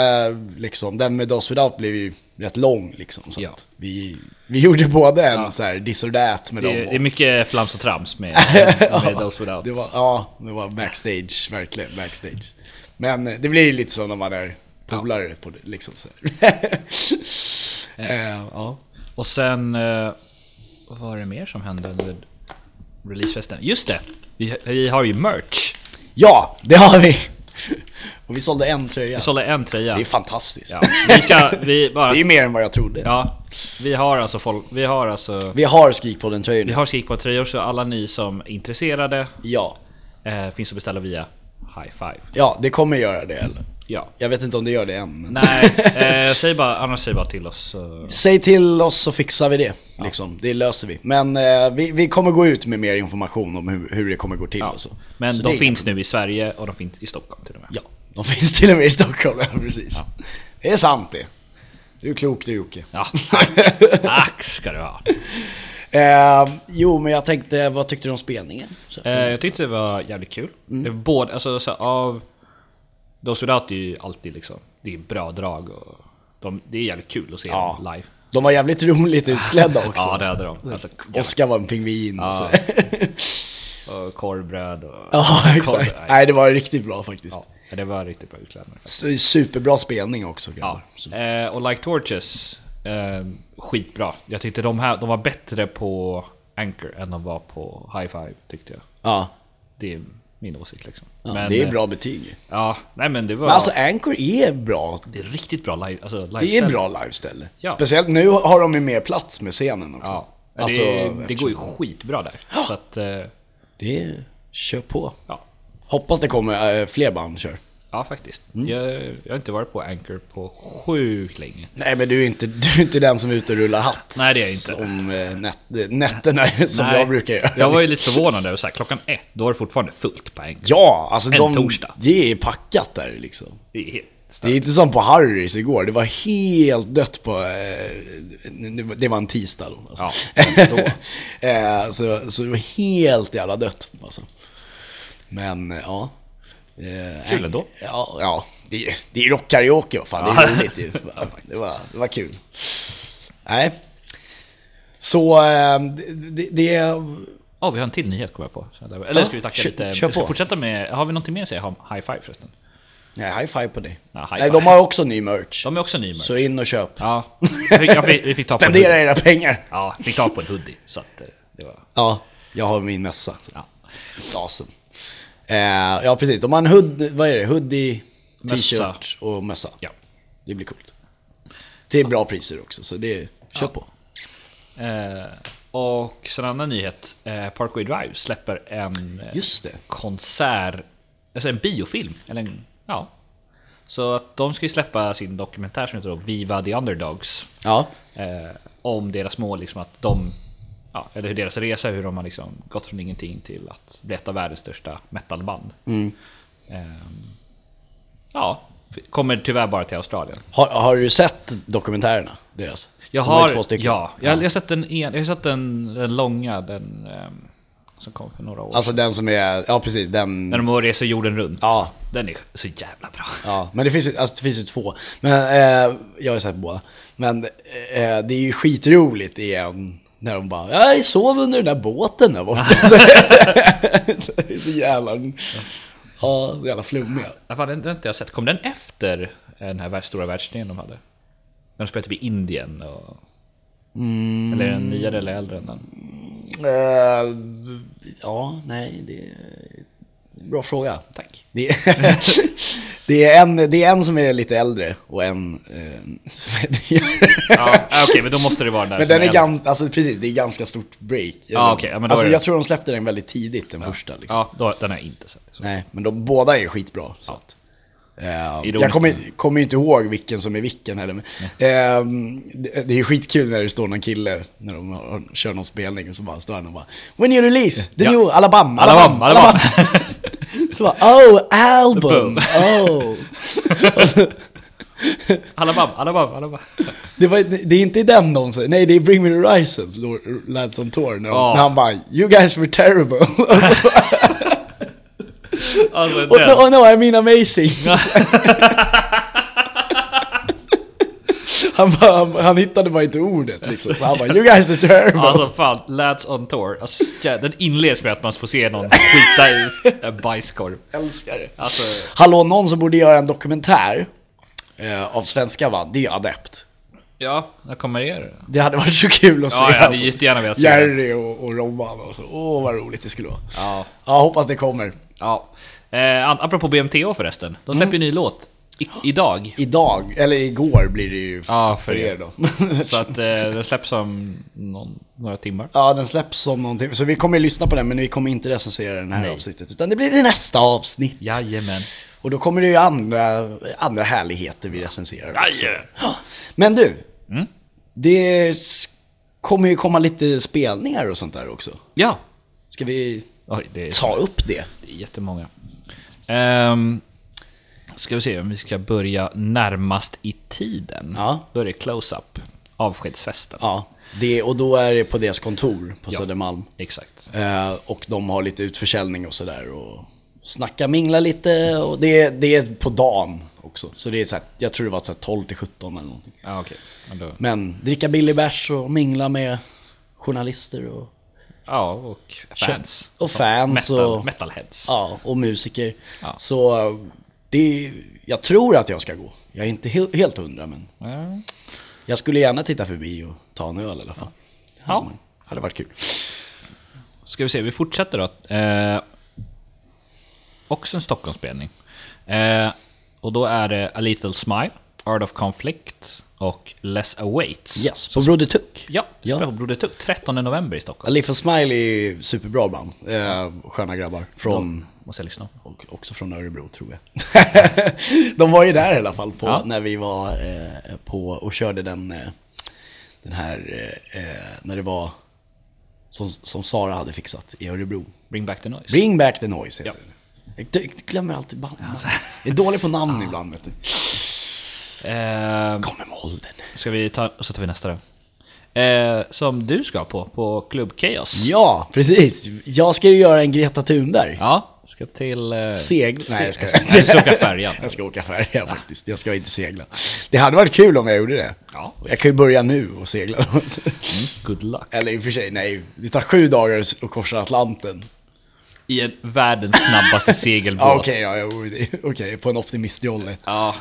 liksom, den med Dos Without blev ju rätt lång liksom. Så
Ja.
att vi, vi gjorde både en så här this or that med
Det
dem.
är,
och-
det är mycket flams och trams med, med Those Without.
det var, ja, det var backstage, verkligen backstage. Men eh, det blir ju lite så när man är polare på det, liksom så här. Eh, ja.
Och sen... Eh, vad var det mer som hände under releasefesten? Just det! Vi, vi har ju merch.
ja, det har vi! Och vi sålde en tröja.
Vi sålde en tröja.
Det är fantastiskt.
Ja, vi ska... Vi bara...
Det är ju mer än vad jag trodde.
Ja, vi har alltså folk... Vi har alltså...
Vi har skrik på den tröjan
Vi har skrik på tröjor så alla ni som är intresserade
Ja.
eh, finns att beställa via High Five.
ja, det kommer göra det. Eller?
Ja.
Jag vet inte om det gör det än. Men...
Nej, eh, säg bara, annars säg bara till oss. eh, så-
Säg till oss så fixar vi det. Liksom. Det löser vi. Men eh, vi, vi kommer gå ut med mer information om hur, hur det kommer gå till
Ja.
och så.
Men
så det
de
är-
finns nu i Sverige och de finns i Stockholm till och med.
Ja, de finns till och med i Stockholm, ja, precis. Det är sant det. Du är klok du Jocke.
Ja, tack. tack ska du ha.
Eh, jo, men jag tänkte, vad tyckte du om spelningen? Så.
Eh, jag tyckte det var jävligt kul.
Mm.
Det var både, alltså så här, av... Those Without är ju alltid liksom, det är bra drag och de, det är jävligt kul att se
Ja.
dem live.
De var jävligt roligt utklädda också.
Ja, det hade de. Alltså,
Oskar var en pingvin. Ja, så.
och korvbröd och...
ja exakt.
korv-
Nej, det var riktigt bra faktiskt.
Ja, det var riktigt bra utklädnad.
Su- Superbra spelning också.
Ja.
grabbar. Så-
Eh, och Like Torches, eh, skitbra. Jag tyckte de här de var bättre på Anchor än de var på High Five tyckte jag.
ja.
Det är min åsikt liksom.
ja
Men,
det
eh,
är bra betyg.
Ja, nej men det var...
Men alltså Anchor är bra.
det är riktigt bra live, alltså, live
Det är bra liveställe.
Ja.
Speciellt nu har de ju mer plats med scenen också.
Ja.
Alltså,
det, det går ju skitbra där. Så att, eh,
Det är... Kör på.
ja.
Hoppas det kommer eh, fler band kör.
Ja faktiskt.
Mm.
Jag, jag har inte varit på Anchor på sjukt länge.
Nej men du är inte, du är inte den som är ute och rullar hatt.
Nej, det är jag inte.
Som eh, nät, nätterna som jag brukar göra. liksom.
Jag var ju lite förvånad över så här, klockan ett, då är det fortfarande fullt på Anchor.
Ja, alltså
En
de,
torsdag.
det är packat där liksom.
Det är helt
Det är inte som på Harrys igår, det var helt dött på... Eh, nu- det var en tisdag då. Alltså.
Ja, då.
eh, så, så det var helt jävla dött alltså. Men eh, ja. Eh,
Kul ändå.
Ja, ja. Det, är- det är rockkaraoke, vad fan. Det är
Ja.
roligt ju. Det var, det var kul. Nej. Så eh, det, det, det...
Ja, vi har en till nyhet kommer jag på. Så där- Eller ska vi tacka
kö- kör
lite? Ska
på.
vi fortsätta med... Har vi någonting mer att säga om High Five förresten?
Nej, high five på dig.
Ja, high
Nej,
five.
de har också ny merch.
De är också ny merch.
Så in och köp.
Ja, jag fick, jag fick, vi fick tag på en
Spendera
hoodie.
era pengar.
Ja, fick tag på en hoodie. Så att eh, det var...
Ja, jag har min mössa.
Ja.
It's awesome. Eh, ja, precis. De har en hood, vad är det? hoodie, t-shirt och mössa.
ja.
Det blir coolt. Det är bra priser också, så det kör på.
Eh, och sen en annan nyhet. Eh, Parkway Drive släpper en eh,
Just det.
konsert... Alltså en biofilm. Eller en, ja. Så att de ska ju släppa sin dokumentär som heter då Viva the Underdogs.
Ja,
Eh, om deras mål, liksom att de... Ja, eller hur deras resa, hur de har liksom gått från ingenting till att bli ett av världens största metalband. Ehm, ja, kommer tyvärr bara till Australien.
Har, har du sett dokumentärerna deras?
Jag
De var ju
har,
två stycken.
ja, jag, jag har sett den, en, jag har sett den, den långa, den ehm, som kom för några år
Alltså den som är, ja precis den.
När de reser jorden runt.
Ja.
Den är så jävla bra.
Ja, men det finns, ju- alltså, det finns ju två. Men, eh, jag har sett båda. Men eh, det är ju skitroligt igen när de bara jag sov under den där båten där borta. det är så jävla, ja, så jävla flummiga.
Ja, fan, den, den har inte jag sett. Kom den efter den här världs- stora världsturnén de hade? När de spelade typ i Indien och...
Mm.
Eller är den nyare eller äldre än den?
Eh, ja, nej, det är bra fråga.
Tack.
Det är, det, är en, det är en som är lite äldre och en eh, som är
Ja, Ah, okej, men då måste det vara den där
Men
som
den är
äldre.
ganska, alltså precis, det är ganska stort break.
Ja, okej, ja, men då
alltså
är det-
jag tror de släppte den väldigt tidigt, den första liksom.
Ja, då, den har jag inte sett. Så.
Nej, men de båda är skitbra. Så
Ja.
att, eh,
Ironiskt,
jag kommer,
men-
kommer ju inte ihåg vilken som är vilken heller. Men, ehm, det, det är ju skitkul när det står någon kille, när de har, kör någon spelning och så bara står han och bara When you release, the
Ja.
new Alabama,
Alabam,
Alabama, Alabama.
Alabam.
så bara, oh, album, oh.
Alabama, Alabama, Alabama.
Det, var, det är inte den de säger, nej det är Bring Me The Horizons, Lord- Lads on Tour, när, de,
Ja.
när han bara You guys were terrible.
Alltså,
oh,
den.
no, oh no, I mean amazing. han, bara, han, han hittade bara inte ordet liksom, så han bara You guys are terrible.
Alltså fan, Lads on Tour. Alltså, jä- den inleds med att man får se någon skita ut en bajskorv.
Jag älskar det.
Alltså,
Hallå, någon som borde göra en dokumentär eh, av svenska band, det är Adept.
ja, när kommer er?
Det hade varit så kul att se. alltså.
Ja, jag hade jättegärna velat se det.
Jerry och, och Robban och så. Åh, vad roligt det skulle vara.
Ja.
ja hoppas det kommer.
Ja. Eh, an- apropå BMTH förresten, de släpper ju ny låt i- idag.
Idag, eller igår blir det ju
Ja,
för
för
er
er.
då.
Så att eh, den släpps om någon, några timmar.
ja, den släpps om någonting. Så vi kommer ju lyssna på den, men vi kommer inte recensera den här avsnittet. Utan det blir det nästa avsnitt.
Jajamän.
Och då kommer det ju andra, andra härligheter vi recenserar. också. Men du, det s- kommer ju komma lite spelningar och sånt där också.
Ja!
Ska vi
Oj, det är,
ta upp det?
det är jättemånga. Ehm, ska vi se om vi ska börja närmast i tiden.
Ja.
Då är det close-up, avskedsfesten.
Ja, det, och då är det på deras kontor på
Ja.
Södermalm.
Exakt.
Eh, och de har lite utförsäljning och sådär. Och snacka, mingla lite. Och det, det är på dagen också. Så det är så här, jag tror det var så här 12 till 17 eller någonting.
Ja, okej. Men då-
Men dricka billig bärs och mingla med journalister och,
Ja, och fans.
och fans.
Metal,
och,
Metalheads.
ja, och musiker.
Ja.
Så eh, det, jag tror att jag ska gå. Jag är inte he- helt hundra men
Ja.
jag skulle gärna titta förbi och ta en öl i alla fall.
Ja.
hade varit kul.
Ska vi se, vi fortsätter då. Eh, också en Stockholmsspelning. Eh, och då är det A Little Smile, Art of Conflict och Less Awaits.
Yes, på Broder Tuck.
Ja,
Ja.
ja. Broder Tuck, 13 november i Stockholm.
Leif and Smile är ju superbra band. Eh, sköna grabbar. Från,
Måste jag lyssna på.
och också från Örebro tror jag. De var ju där i alla fall på,
Ja.
när vi var eh, på och körde den, eh, den här, eh, eh, när det var som, som Sara hade fixat i Örebro.
Bring Back the Noise.
Bring back the noise heter
Ja.
det. Jag gl- glömmer alltid band. Jag är dålig på namn ibland vet du.
Eh,
Kommer med åldern.
ska vi ta, och så tar vi nästa då. Eh, som du ska på, på Club Chaos.
Ja, precis. Jag ska ju göra en Greta Thunberg.
Ja, ska till... Eh,
Segl- Nej, jag ska-
Du ska åka färjan.
Jag ska åka färja faktiskt, jag ska inte segla. Det hade varit kul om jag gjorde det.
Ja.
Jag kan ju börja nu och segla.
Good luck.
Eller i och för sig, nej. Det tar sju dagar att korsa Atlanten.
I en världens snabbaste segelbåt.
Ja, okej, ja, ja, okej, på en optimistjolle.
Ja.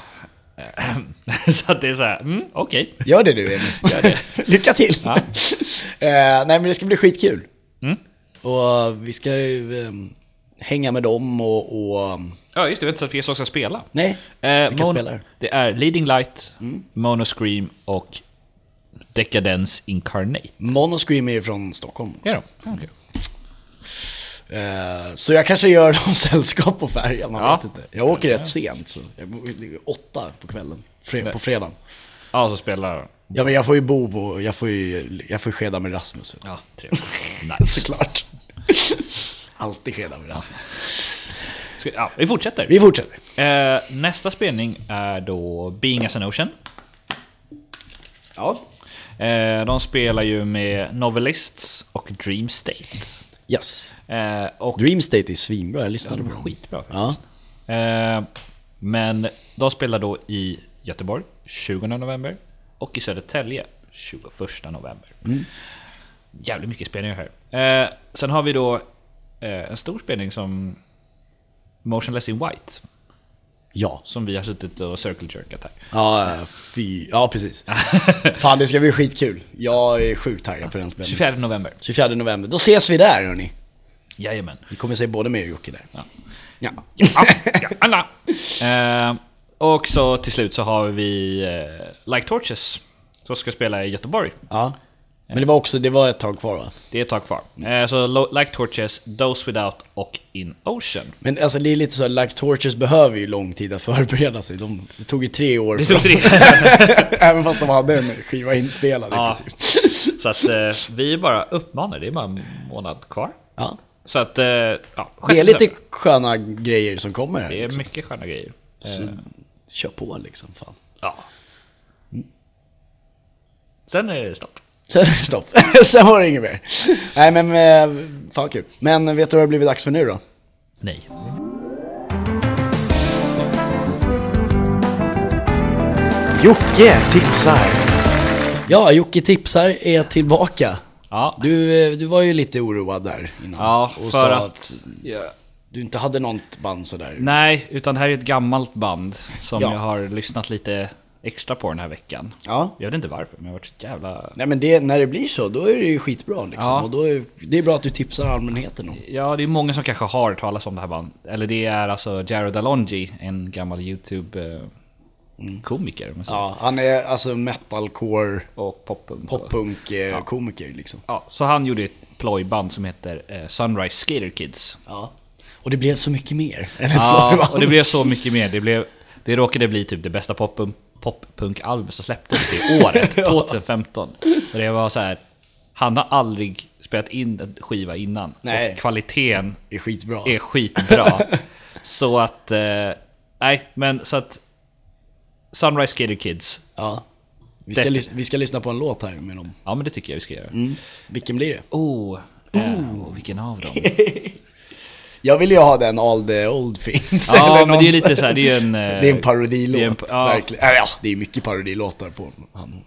Eh, så att det är så här, mm, okej.
Gör det du, Emil. Lycka till!
Ja. Mm.
eh, nej, men det ska bli skitkul. Och vi ska ju ehm, hänga med dem och... och
Ja, just det, vi har inte sagt vilka som ska spela.
nej,
Eh,
vilka
Mon-
spelar?
Det är Leading Light, Mono Scream och Decadence Incarnate.
Monoscream är ju från Stockholm.
ja, då. Okej.
Eh, Så jag kanske gör dem sällskap på färjan, man
Ja.
vet inte. Jag åker rätt sent, så jag, det är åtta på kvällen, fre, på fredagen.
Ja, så spelar...
Ja men jag får ju bo på, jag får ju, jag får ju skeda med Rasmus. Vet du.
Ja, trevligt. Nice.
Såklart. Alltid skeda med Rasmus.
Ska, ja, vi fortsätter.
Vi fortsätter.
Eh, nästa spelning är då Being as an Ocean.
Ja.
Eh, de spelar ju med Novelists och Dream State.
Yes.
Eh, och
Dream State är svinbra, jag lyssnade på
de är
dem.
skitbra
Ja.
faktiskt. Eh, men de spelar då i Göteborg 20 november och i Södertälje 21 november. Jävligt mycket spelningar här. Eh, sen har vi då eh, en stor spelning som Motionless in White
Ja.
som vi har suttit och circle jerkat här.
Ja, fy, ja precis. Fan det ska bli skitkul. Jag är sjukt taggad på den spelningen.
24 november.
24 november, då ses vi där hörni.
Jajamän.
Vi kommer se både mig och Jocke där.
Ja.
Ja.
Ja, ja, alla. Eh, och så till slut så har vi eh, Like Torches som ska spela i Göteborg.
ja. Men det var också, det var ett tag kvar va?
Det är ett tag kvar.
Mm.
Eh, så Lo- Like Torches, Those Without och In Ocean.
Men alltså det är lite så, här, Like Torches behöver ju lång tid att förbereda sig. De, det tog ju tre år,
Det tog
för,
tre.
även fast de hade en skiva inspelad i
Ja.
princip.
Så att eh, vi bara uppmanar, det är bara en månad kvar.
Ja.
Så att, eh, ja.
Det är
sjätte
lite
december.
sköna grejer som kommer här.
Det är
Liksom.
mycket sköna grejer.
Så, kör på liksom, fan.
Ja. Mm. Sen är det stopp.
Sen, stopp, sen var det inget mer. Nej men, eh, fan kul. Men vet du vad det har blivit dags för nu då?
Nej.
Jocke tipsar. Ja, Jocke tipsar är tillbaka.
Ja.
Du, eh, du var ju lite oroad där innan.
Ja,
och
för
sa
att...
att du inte hade något band sådär.
Nej, utan det här är ett gammalt band som
Ja.
jag har lyssnat lite extra på den här veckan.
Ja.
Jag vet inte varför, men jag har varit så jävla...
Nej men det, när det blir så, då är det ju skitbra liksom.
Ja.
Och då är, det är bra att du tipsar allmänheten om.
Ja, det är många som kanske har hört talas om det här bandet. Eller det är alltså Jared Alonji, en gammal YouTube-komiker.
Ja, han är alltså metalcore,
Och poppunk. eh,
poppunk-komiker liksom.
Ja, så han gjorde ett plojband som heter eh, Sunrise Skater Kids.
Ja. Och det blev så mycket mer. än ett
Ja,
floriband.
och det blev så mycket mer. Det, blev, det råkade bli typ det bästa poppun- poppunkalbum som släpptes det året, 2015. Och det var så här, han har aldrig spelat in en skiva innan.
Nej.
Och kvaliteten
Det är skitbra.
är skitbra. så att, eh, nej, men så att Sunrise Skater Kids,
Ja. Vi ska, lys- vi ska lyssna på en låt här med dem.
ja men det tycker jag vi ska göra.
Mm. Vilken blir det?
Oh, eh, oh, vilken av dem?
Jag vill ju ha den All the old things.
Ja,
eller
men det är
någon-
lite så här, det är ju en, eh,
Det är en parodilåt,
det är en pa- ja.
verkligen. Eller ja, det är mycket parodilåtar på han.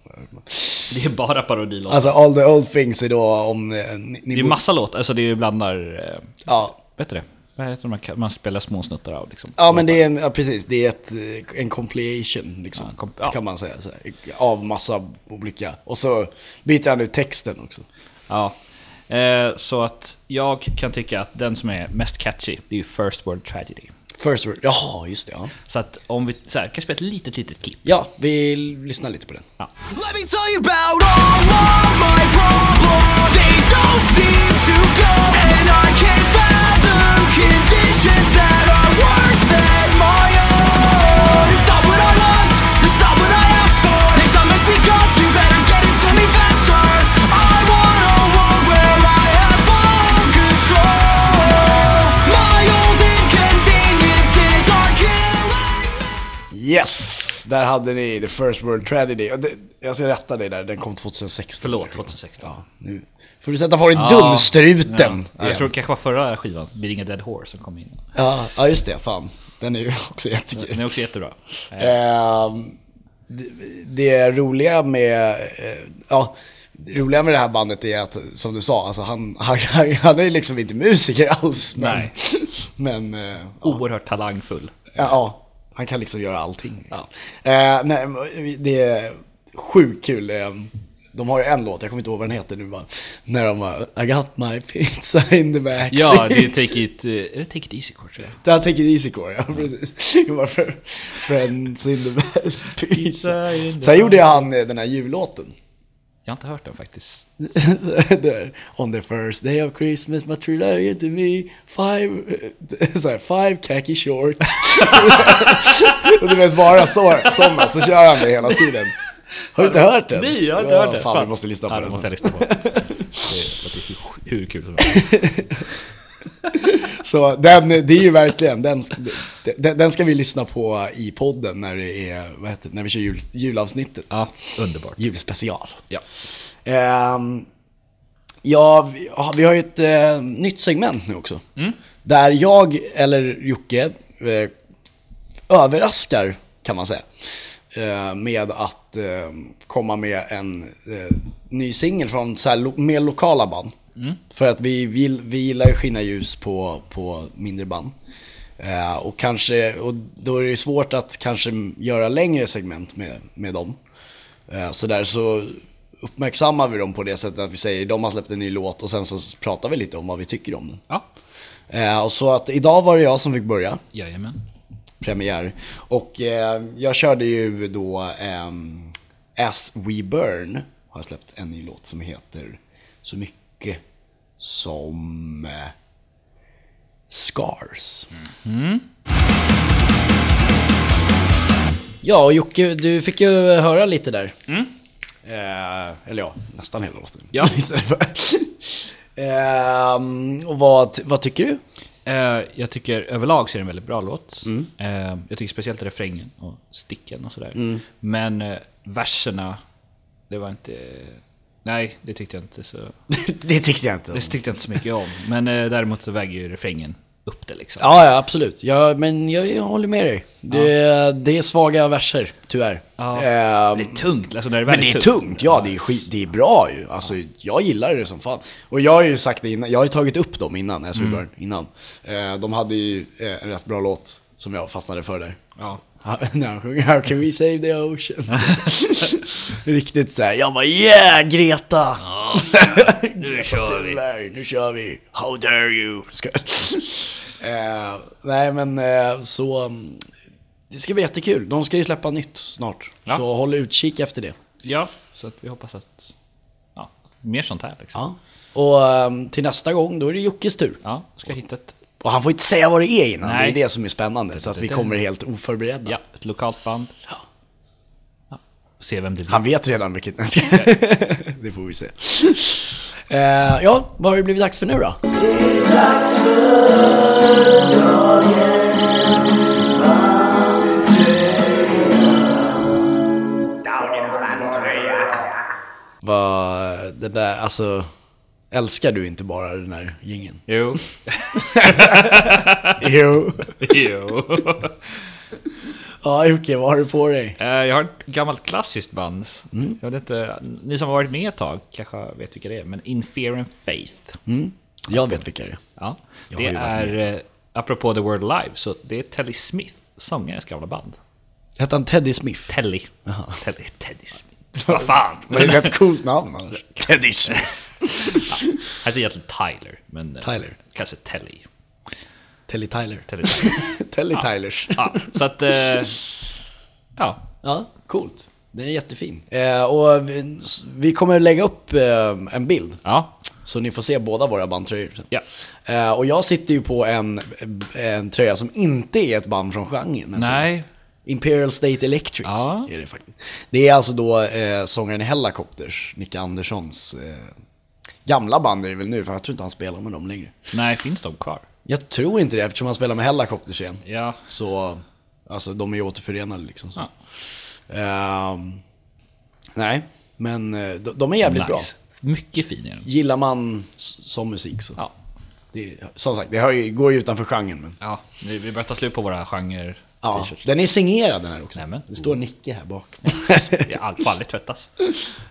det är bara parodilåtar.
Alltså All the old things är då om... eh, Ni, ni
det är
bor-
massa låtar, alltså det är ju blandar... Eh,
ja.
Vet du det? Vad heter de man, man spelar små snuttar av liksom?
ja, men det är en, ja, precis, det är ett, eh, en compilation liksom,
Ja, komp- ja.
kan man säga. Så här, av massa olika. Och så byter han ut texten också.
Ja. Eh, så att jag kan tycka att den som är mest catchy, det är ju First World Tragedy.
First word, jaha, just det. Ja,
Så att om vi så här, kan spela ett litet, litet klipp.
ja vi lyssnar lite på den.
Let me tell you about all of my problems. They don't seem to go, and I can't fathom conditions that are worse than my own. It's not what I want, it's not what I asked for. Next time I speak up, you better get it to me faster. I want a world where I have full control. My old inconveniences are killing me.
Yes! Där hade ni The First World Tragedy. Och det- Jag ska rätta dig där, den kom 2016.
Förlåt, 2016.
Nu får du sätta på dig dumstruten.
Ah. Ja, jag tror det kanske var förra skivan, Being a Dead Horse, som kom in.
Ja, ja, just det. Fan. Den är ju också jättekul.
Den är också jättebra. Eh,
Ehm, det- det roliga med... eh, Ja, det roliga med det här bandet är att, som du sa, alltså han, han, han, han är ju liksom inte musiker alls. Men,
Nej.
men eh, ja,
Oerhört talangfull.
ja, han kan liksom göra allting. Liksom. Eh, nej, men det är sjukt kul. eh, De har ju en låt, jag kommer inte ihåg vad den heter nu bara. När de bara, I got my pizza in the back
Ja, det är
seat."
Take It, eh, är det take it Easy Court? tror jag?
Det här tänker Easy Core,
Mm.
ja precis. Det var för Friends in the Bell
Pizza in the
Sen gjorde jag han eh, den här jullåten.
Jag har inte hört den faktiskt.
Där. On the first day of Christmas my true love gave to me five, eh, så här, five khaki shorts. Och du vet bara så, sådana, så kör han det hela tiden. Har du inte hört den?
Nej, jag har inte
Ja,
hört det.
Fan, vi måste lyssna på
ja,
den.
det måste jag lyssna på. Det låter hur- hur kul som helst.
Så den, det är ju verkligen, den, den, den ska vi lyssna på i podden när, det är, vad heter, det, när vi kör jul, julavsnittet.
Ja, underbart.
Julspecial.
Ja.
Ehm, ja, vi, ja, vi har ju ett eh, nytt segment nu också. Där jag, eller Jocke, eh, överraskar kan man säga. Eh, med att eh, komma med en eh, ny singel från så här, lo- mer lokala band. För att vi, vill, vi gillar ju att skina ljus på, på mindre band. Eh, och, kanske, och då är det ju svårt att kanske göra längre segment med, med dem. Eh, Så där så uppmärksammar vi dem på det sättet att vi säger de har släppt en ny låt och sen så pratar vi lite om vad vi tycker om den.
Ja,
Eh, Och så att idag var det jag som fick börja,
jajamän.
premiär. Och eh, jag körde ju då ehm, As We Burn har släppt en ny låt som heter så mycket som eh, Scars. Ja, och Jocke, du fick ju höra lite där. Eh, eller ja, nästan hela låten.
Ja.
Istället för- Ehm, och vad, vad tycker du?
Eh, jag tycker överlag så är det en väldigt bra låt. Eh, jag tycker speciellt refrängen och sticken och sådär. Men eh, verserna, det var inte... Nej, det tyckte jag inte så,
det tyckte jag inte.
det tyckte jag inte så mycket om. Men eh, däremot så väger ju refrängen upp det liksom.
Ja, ja absolut. Ja, men jag, jag håller med dig. Det, det är svaga verser, tyvärr.
Ja.
Ehm,
Det är tungt, alltså när det är
men
väldigt
det är tungt. Ja, det är, skit, det är bra ju. Alltså, jag gillar det som fan. Och jag har ju sagt det innan, jag har ju tagit upp dem innan, As We
Mm.
Burn, innan. Eh, de hade ju eh, en rätt bra låt som jag fastnade för där.
Ja.
När han sjunger How can we save the ocean? Riktigt såhär, jag bara yeah Greta! nu
kör vi.
Tyvärr, nu kör vi! How dare you! Ska... Eh, nej men eh, så, mm, det ska bli jättekul. De ska ju släppa nytt snart.
Ja.
Så håll utkik efter det.
Ja, så att vi hoppas att... Ja, mer sånt här liksom.
Ja. Och ehm, till nästa gång, då är det Jockes tur.
Ja, ska jag hitta ett,
Och han får inte säga vad det är innan,
Nej.
det är det som är spännande. Så att vi
det-
kommer helt oförberedda.
ja, ett lokalt band. Ja. Se vem det blir.
Han vet redan vilket... det får vi se. Eh, ja, vad har det blivit dags för nu då? Vad, det där, alltså... Älskar du inte bara den här gingen?
Jo.
Jo.
jo.
Ja, Jocke, vad har du på dig?
Eh, Jag har ett gammalt klassiskt band.
Mm.
Jag vet inte, ni som har varit med ett tag kanske vet vilka det är, men In Fear and Faith.
Jag vet vilka det är.
Ja,
Mm. Jag
det
har ju varit
är, eh, apropå The Word Live, så det är Telly Smith, sångarens gamla band.
Hette han Teddy Smith?
Telly. Telly, Teddy Smith. Vad fan?
Det är ett rätt coolt namn annars. Teddy Smith.
Han heter egentligen Tyler, men eh,
Tyler.
kanske Telly.
Telly Tyler.
Telly Tyler.
Telly Tylers.
ja, så att... eh, Ja,
Ja, coolt. Den är jättefin. Eh, och vi, vi kommer lägga upp eh, en bild.
ja,
Så ni får se båda våra bandtröjor. sen.
ja.
Eh, och jag sitter ju på en, en tröja som inte är ett band från genren. ens.
Nej.
Imperial State Electric
Ja.
är det faktiskt. Det är alltså då eh, sångaren i Hellacopters, Nicke Anderssons eh, gamla band är det väl nu, för jag tror inte han spelar med dem längre.
Nej, finns de kvar?
Jag tror inte det eftersom han spelar med Hellacopters igen.
Ja.
Så, alltså de är ju återförenade liksom. Så.
Ja.
Ehm, nej, men eh, de, de är jävligt bra.
Mycket fin är den.
Gillar man s- som musik så.
Ja.
Det, som sagt, det hör ju, går ju utanför genren. Men,
Ja, nu- vi börjar ta slut på våra genre
ja,
t-shirts.
den är signerad den här också.
Nämen.
Det står Nicke här bak.
I alla fall aldrig alltså. tvättas.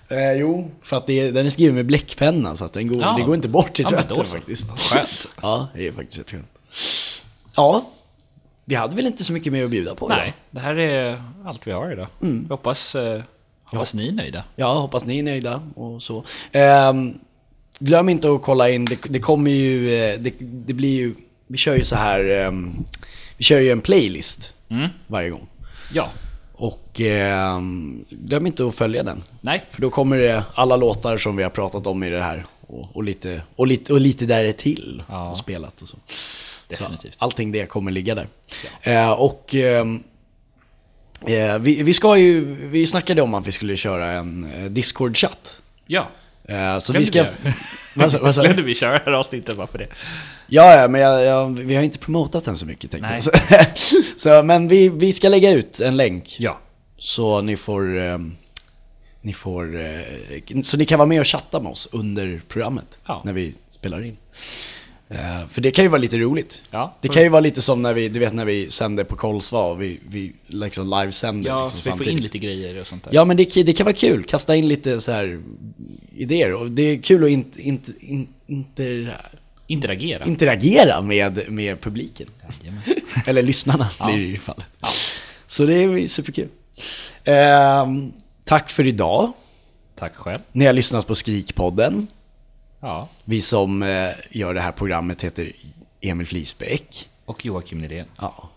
eh, jo, för att det, är- den är skriven med bläckpenna så att den går,
Ja.
det går inte bort i
Ja, men
tvätten
då så.
faktiskt.
Skönt.
Ja, det är faktiskt rätt skönt. Ja, vi hade väl inte så mycket mer att bjuda på idag?
Nej, det här är allt vi har idag. Vi hoppas, eh, hoppas ni är nöjda.
Mm. Ja, hoppas ni är nöjda och så. Ehm, glöm inte att kolla in, det, det kommer ju, eh, det, det blir ju, vi kör ju så här, ehm, vi kör ju en playlist varje gång.
Ja,
Och ehm, glöm inte att följa den.
Nej.
För då kommer det alla låtar som vi har pratat om i det här och, och, lite, och, lite, och lite där till
Ja.
och spelat och så.
Definitivt.
Så allting det kommer ligga där. Eh, och ehm, Eh, vi, vi, ska ju, vi snackade om att vi skulle köra en eh, Discord-chatt.
Ja.
Eh, så
Glömde
vi ska...
vi
Vad sa- vad sa du?
Glömde vi köra det här avsnittet bara för det.
Ja, ja men jag, jag, vi har inte promotat den så mycket tänkte
Nej.
jag. Så, så, men vi, vi ska lägga ut en länk.
Ja.
Så ni får... ehm, ni får eh, så ni kan vara med och chatta med oss under programmet.
Ja.
När vi spelar in. Eh, för det kan ju vara lite roligt.
Ja.
Det kan ju vara lite som när vi, du vet när vi sände på Kolsva och vi, vi liksom livesänder
Ja,
liksom
så vi får in lite grejer och sånt där.
Ja men det, det kan vara kul, kasta in lite så här idéer. Och det är kul att in, in, in, inter,
Interagera.
interagera med, med publiken.
Jajamän.
Eller lyssnarna
Ja.
blir det i fallet. Så det är ju superkul. Ehm, tack för idag.
Tack själv.
Ni har lyssnat på Skrikpodden.
Ja.
Vi som eh, gör det här programmet heter Emil Flisbäck.
Och Joakim Nydén.
Ja.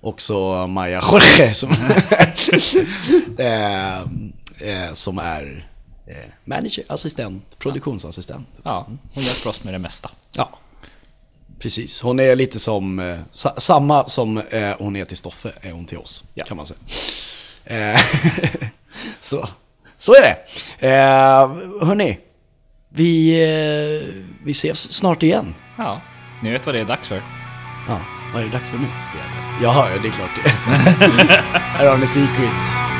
Och så Maja Jorge som, eh, eh, som är eh, manager, assistent, produktionsassistent.
Ja, hon hjälper oss med det mesta.
Ja, precis. Hon är lite som, eh, sa, samma som eh, hon är till Stoffe, är hon till oss,
Ja.
kan man säga. Eh, så, så är det. Eh, hörni, vi, eh, vi ses snart igen.
Ja, ni vet vad det är dags för.
Ja, vad är det dags för nu? Ja, det är klart det. Här har ni Secrets.